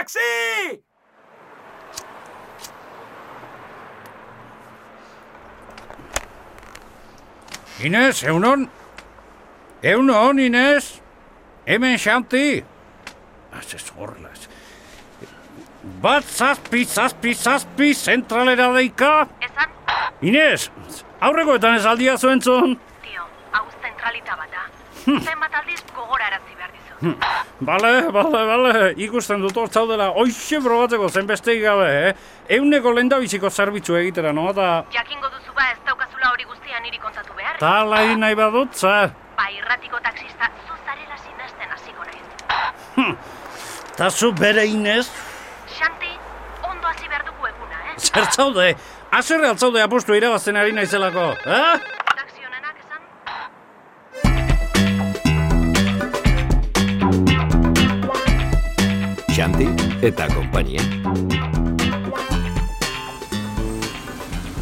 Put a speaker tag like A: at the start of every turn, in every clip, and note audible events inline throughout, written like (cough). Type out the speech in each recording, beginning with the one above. A: taksi!
B: Inez, eunon? Eunon, Inez? Hemen xanti? Aseskorlaz. Bat zazpi, zazpi, zazpi, zentralera deika?
C: Ezan,
B: Inez, aurrekoetan ez aldia zuen zon?
C: tio, hau zentralita bat da. Zenbat aldiz gogorarazi behar dizut.
B: Bale, bale, bale, ikusten dut hor zaudela, oixe probatzeko zenbesteik gabe, eh? Euneko lendabiziko zerbitzu egitera, no? Eta
C: Jakingo duzu ba ez daukazula hori guztia niri kontatu behar.
B: tala egin nahi badut, za?
C: Ba, irratiko taksista zuzarela sinasten hasiko naiz.
B: Ta zu bere Inez?
C: Xanti, ondo hasi behar dugu eguna, eh?
B: Zer zaude? Azerre altzaude apostu irabazten ari naizelako, eh?
C: Taksi honenak esan,
D: Xanti eta konpainia.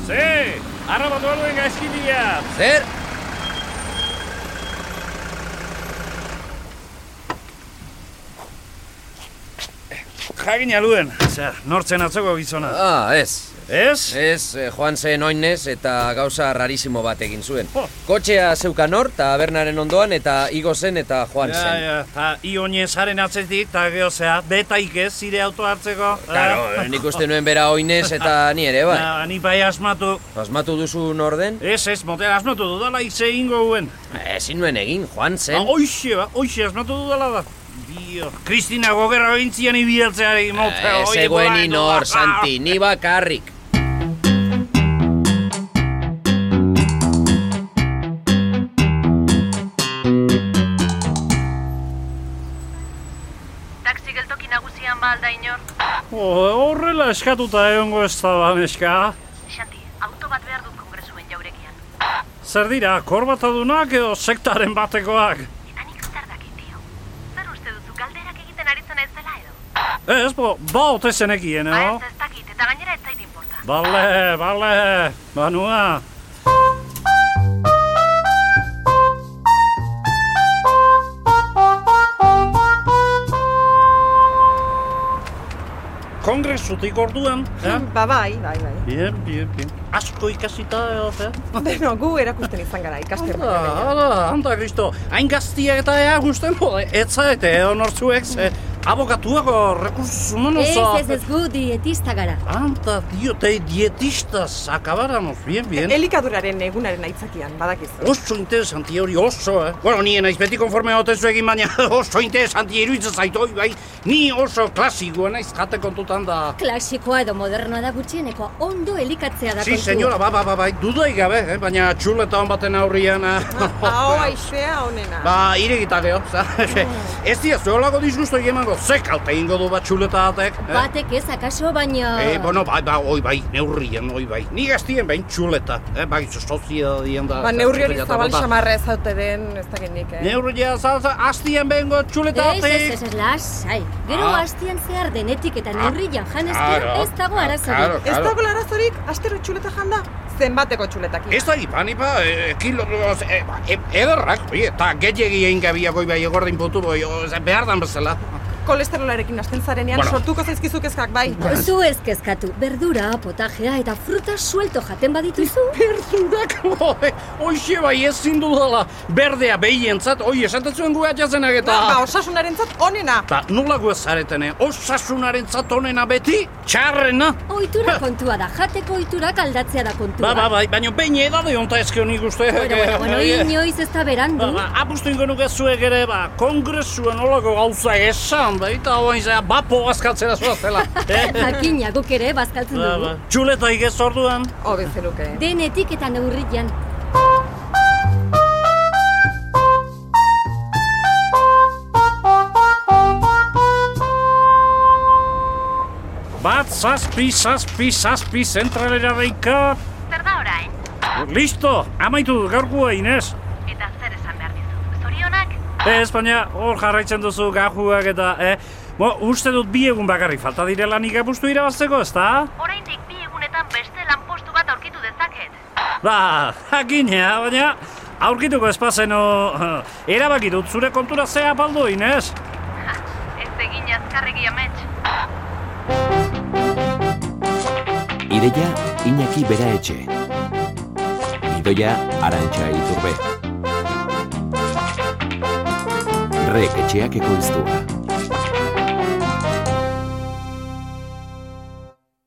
B: Ze, arraba dueluen gaizkidia!
E: Zer?
B: Jakin aluen, zer, nortzen atzoko gizona.
E: Ah, ez.
B: Ez?
E: Ez, eh, joan zen oinez eta gauza rarisimo bat egin zuen.
B: Oh.
E: Kotxea zeukan hor, tabernaren ondoan eta igo zen eta joan
B: Ja,
E: zen.
B: ja, ta ionezaren atzetik, ta geozea, betaik ez zire auto hartzeko. eh?
E: Claro, eh, nik uste nuen bera oinez eta ni ere bai.
B: (laughs) Na, ni bai asmatu.
E: Asmatu duzu norden?
B: Ez, ez, motel asmatu dudala ize ingo guen.
E: Ezin nuen egin, joan
B: Ba,
E: zen.
B: Oixe, ba, oixe asmatu dudala da. Dio, Kristina gogerra bintzian ibialtzeari motel. ah,
E: Eh, Ez egoen inor, Santi, ni bakarrik.
C: taksi geltoki nagusian ba alda inor.
B: Oh, horrela eskatuta egongo ez da ba, neska.
C: Xanti, auto bat behar dut kongresuen jaurekian.
B: Zer dira, korbatadunak edo sektaren batekoak?
C: Eta nik zer dakit, tio. Zer uste duzu, galderak egiten ari zen ez dela edo?
B: Ez, bo, ba ote zenekien,
C: Ba
B: eo?
C: ez ez dakit, eta gainera ez zait inporta.
B: Bale, bale, banua. Kongresutik orduan, eh?
F: Ba, bai, bai, bai.
B: Bien, bien, bien. Asko ikasita edo, eh?
F: Beno, gu erakusten izan gara, ikasten.
B: Hala, hala, handa kristo. Hain gaztiak eta ea gusten bo, ez zaete, edo nortzuek, ze abokatuako rekurs humanos.
G: Ez,
B: ah,
G: ez, ez gu dietista gara.
B: Anta, tio, te dietistas akabáramos, bien, bien.
F: Elikaduraren egunaren aitzakian, badakizu.
B: Oso interesanti hori oso, eh? Bueno, ni naiz beti konforme hote egin baina (laughs) oso interesanti iruditzen zaitu, hori bai, ni oso klasikoa naiz jate kontutan da.
G: Klasikoa edo modernoa da gutxienekoa ondo elikatzea da
B: Si, senyora, ba, ba, ba, bai, dudai gabe, eh? baina txuleta hon baten aurrian... eh.
F: Ah, Hau aizea honena.
B: (laughs) Ba, irekita geho, za?
F: Mm.
B: (laughs) Ez dira, zuelako disgusto emango, ze kalte ingo du bat txuleta batek, eh?
G: Batek ez, akaso, baina...
B: Eh, bueno, bai, bai, oi bai, neurrien, oi bai. Ni gaztien behin txuleta, eh, bai, soziedadien da.
F: Ba, neurri hori
B: eta-
F: zabal
B: eta-
F: xamarra ez haute den, ez da genik, eh?
B: Neurria zaza, aztien behingo txuleta
G: Ez, ez, ez, ez, lasai. Gero
B: Ah.
G: hastian zehar denetik eta neurrian janezkero
B: Claro,
G: ez dago
B: claro,
G: arazorik.
F: Ez
B: claro.
F: dago larazorik, astero txuleta janda, zenbateko txuletak.
B: Ez da ipan, ipa, e, kilo, e, ba, e, ederrak, oi, eta gehiagi egin gabiako ibai egordin putu, boi, o, ze, behar dan bezala.
F: Kolesterolarekin hasten zarenean
B: Bueno.
F: sortuko zaizkizu kezkak, bai.
G: Zu ez kezkatu, berdura, potajea eta fruta suelto jaten badituzu.
B: Berdurak, oi, oixe bai ez zindudala, berdea behientzat, oi, esatetzuen gu atxazenak eta...
F: Ba, osasunaren zat onena.
B: Eta nola gu ez zaretene, osasunaren onena beti, txarrena. (laughs)
G: Oitura kontua da, jateko oiturak aldatzea da kontua.
B: Ba, ba, bai, baina bain edade honta ezkeo nik uste. eh,
G: Bueno, bueno, bueno, inoiz ez da berandu.
B: Ba, ba, apustu ingo nuke zuek ere, ba, kongresuen olako gauza esan, da, eta oain zera, bapo bazkatzera zuaztela. eh?
G: (laughs) Jakina guk ere bazkaltzen
B: Ba,
G: dugu.
B: ba. Txuleta igez orduan.
F: Hobe zenuke.
G: Denetik eta neurrian.
B: Bat, zazpi, zazpi, zazpi, zentralera deika.
C: Zer da orain?
B: Listo, amaitu dut gaurkoa, Inez.
C: Eta zer esan behar dizut? Zorionak?
B: Ez, baina E, hor jarraitzen duzu gajuak eta, eh? Bo, uste dut bi egun bakarrik falta direla nik apustu irabazteko, ez da?
C: Oraindik bi egunetan beste lanpostu bat aurkitu dezaket.
B: Ba, jakina, baina aurkituko espazeno erabaki dut zure kontura zea apaldu, Inez.
C: Ha, Ez egin azkarregi amets.
D: Ideia Iñaki Bera Etxe. Gidoia Arantxa Iturbe. Rek etxeak ekoiztua.